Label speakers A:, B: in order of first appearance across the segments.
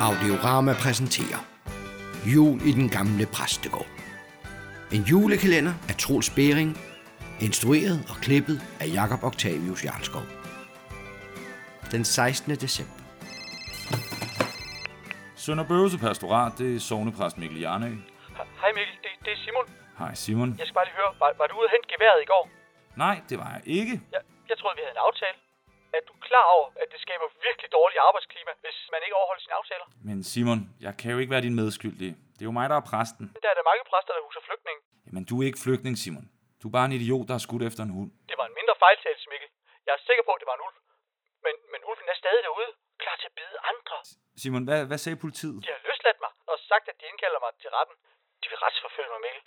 A: Audiorama præsenterer Jul i den gamle præstegård. En julekalender af Troels Bering, instrueret og klippet af Jakob Octavius Jarlskov. Den 16. december.
B: Sønder Bøvse Pastorat, det er sognepræst Mikkel Jarnø.
C: Hej Mikkel, det, det er Simon.
B: Hej Simon.
C: Jeg skal bare lige høre, var, var du ude og hente geværet i går?
B: Nej, det var jeg ikke.
C: Jeg, jeg troede, vi havde en aftale. Er du klar over, at det skaber virkelig dårligt arbejdsklima, hvis man ikke overholder sine aftaler?
B: Men Simon, jeg kan jo ikke være din medskyldige. Det er jo mig, der er præsten.
C: Der er der mange præster, der huser flygtninge.
B: Jamen, du er ikke flygtning, Simon. Du er bare en idiot, der har skudt efter en hund.
C: Det var en mindre fejltagelse, Mikkel. Jeg er sikker på, at det var en ulv. Men, men ulven er stadig derude, klar til at bide andre.
B: Simon, hvad, hvad sagde politiet?
C: De har løsladt mig og sagt, at de indkalder mig til retten. De vil retsforfølge mig, Mikkel.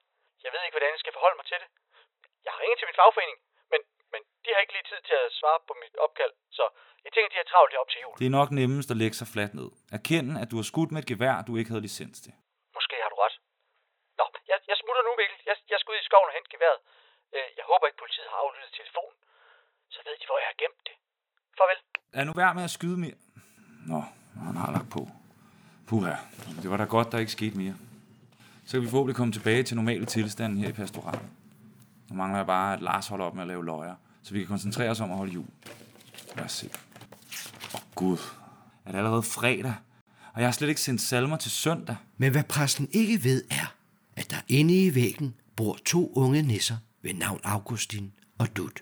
C: Jeg ved ikke, hvordan jeg skal forholde mig til det. Jeg har ringet til min fagforening, men, men de har ikke lige tid til at svare på mit opkald, så jeg tænker, de har travlt her op til jul.
B: Det er nok nemmest at lægge sig fladt ned. Erkende, at du har skudt med et gevær, du ikke havde licens til.
C: Måske har du ret. Nå, jeg, jeg smutter nu, Mikkel. Jeg, jeg skal ud i skoven og hente geværet. Øh, Jeg håber ikke, politiet har aflyttet telefonen. Så ved de, hvor jeg har gemt det. Farvel.
B: Lad nu være med at skyde mere. Nå, han har lagt på. Puha, det var da godt, der ikke skete mere. Så kan vi forhåbentlig komme tilbage til normale tilstanden her i pastoratet. Nu mangler jeg bare, at Lars holder op med at lave løjer, så vi kan koncentrere os om at holde jul. Lad os se. Åh oh, gud, er det allerede fredag? Og jeg har slet ikke sendt salmer til søndag.
A: Men hvad præsten ikke ved er, at der inde i væggen bor to unge nisser ved navn Augustin og Dut.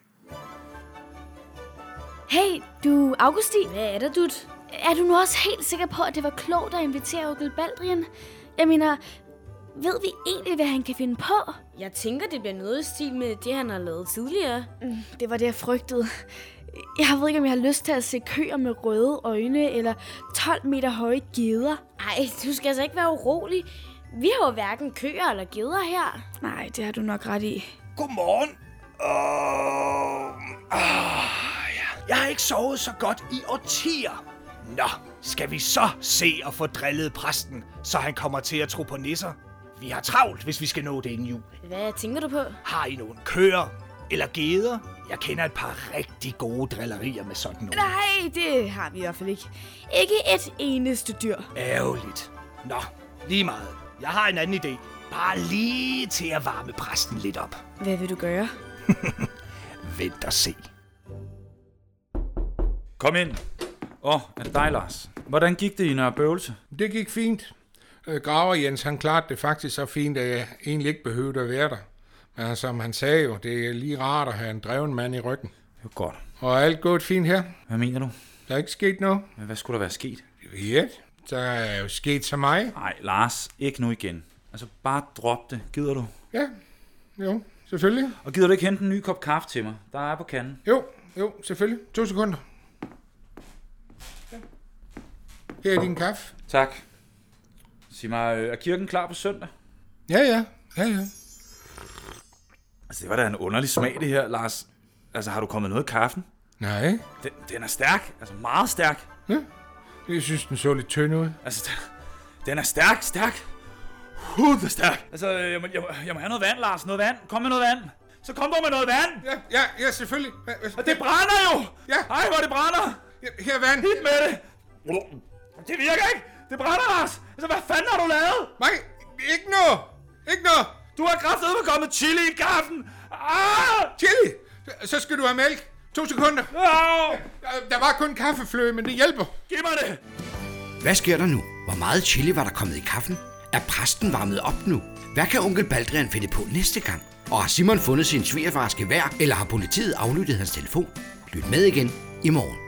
D: Hey, du, Augustin. Hvad er der, dut? Er du nu også helt sikker på, at det var klogt at invitere onkel Baldrian? Jeg mener, ved vi egentlig, hvad han kan finde på?
E: Jeg tænker, det bliver noget i stil med det, han har lavet tidligere.
D: Mm, Det var det, jeg frygtede. Jeg ved ikke, om jeg har lyst til at se køer med røde øjne eller 12 meter høje geder.
E: Ej, du skal altså ikke være urolig. Vi har jo hverken køer eller geder her.
D: Nej, det har du nok ret i.
F: Godmorgen. Oh, ah, ja. Jeg har ikke sovet så godt i årtier. Nå, skal vi så se at få drillet præsten, så han kommer til at tro på nisser? Vi har travlt, hvis vi skal nå det inden jul.
E: Hvad tænker du på?
F: Har I nogen køer eller geder? Jeg kender et par rigtig gode drillerier med sådan nogle.
D: Nej, det har vi i hvert fald ikke. Ikke et eneste dyr.
F: Ærgerligt. Nå, lige meget. Jeg har en anden idé. Bare lige til at varme præsten lidt op.
D: Hvad vil du gøre?
F: Vent og se.
B: Kom ind. Åh, oh, er det dig, Lars? Hvordan gik det i Nørre Bøvelse?
G: Det gik fint. Øh, Graver Jens, han klarede det faktisk så fint, at jeg egentlig ikke behøvede at være der. Men altså, som han sagde jo, det er lige rart at have en dreven mand i ryggen.
B: Det var godt.
G: Og er alt gået fint her?
B: Hvad mener du?
G: Der er ikke sket noget?
B: Men Hvad skulle der være sket?
G: Ja, der er jo sket så meget.
B: Nej, Lars, ikke nu igen. Altså, bare drop det. Gider du?
G: Ja, jo, selvfølgelig.
B: Og gider du ikke hente en ny kop kaffe til mig? Der er på kanden.
G: Jo, jo, selvfølgelig. To sekunder. Ja. Her er din kaffe.
B: Tak. Sig mig, øh, er kirken klar på søndag?
G: Ja, ja, ja, ja.
B: Altså, det var da en underlig smag, det her, Lars. Altså, har du kommet noget i kaffen?
G: Nej,
B: Den, den er stærk. Altså, meget stærk.
G: jeg synes, den så lidt tynd ud.
B: Altså, den, den er stærk, stærk. Hud, den er stærk. Altså, øh, jeg må, jeg, må, jeg må have noget vand, Lars. Noget vand. Kom med noget vand. Så kom dog med noget vand.
G: Ja, ja, ja, selvfølgelig. Hva- hva-
B: Og det brænder jo.
G: Ja.
B: Ej, hvor det brænder.
G: Ja, Her er vand.
B: Hit med det. Det virker ikke. Det brænder, Lars. Altså, hvad fanden har du lavet?
G: Nej, ikke noget. Ikke noget.
B: Du har kraftedeme kommet chili i kaffen. Ah!
G: Chili. Så- Så skal du have mælk. To sekunder.
B: Au!
G: Der- Der var kun kaffefløde, men det hjælper.
B: Giv mig det!
A: Hvad sker der nu? Hvor meget chili var der kommet i kaffen? Er præsten varmet op nu? Hvad kan onkel Baldrian finde på næste gang? Og har Simon fundet sin svigerfars gevær, eller har politiet aflyttet hans telefon? Lyt med igen i morgen.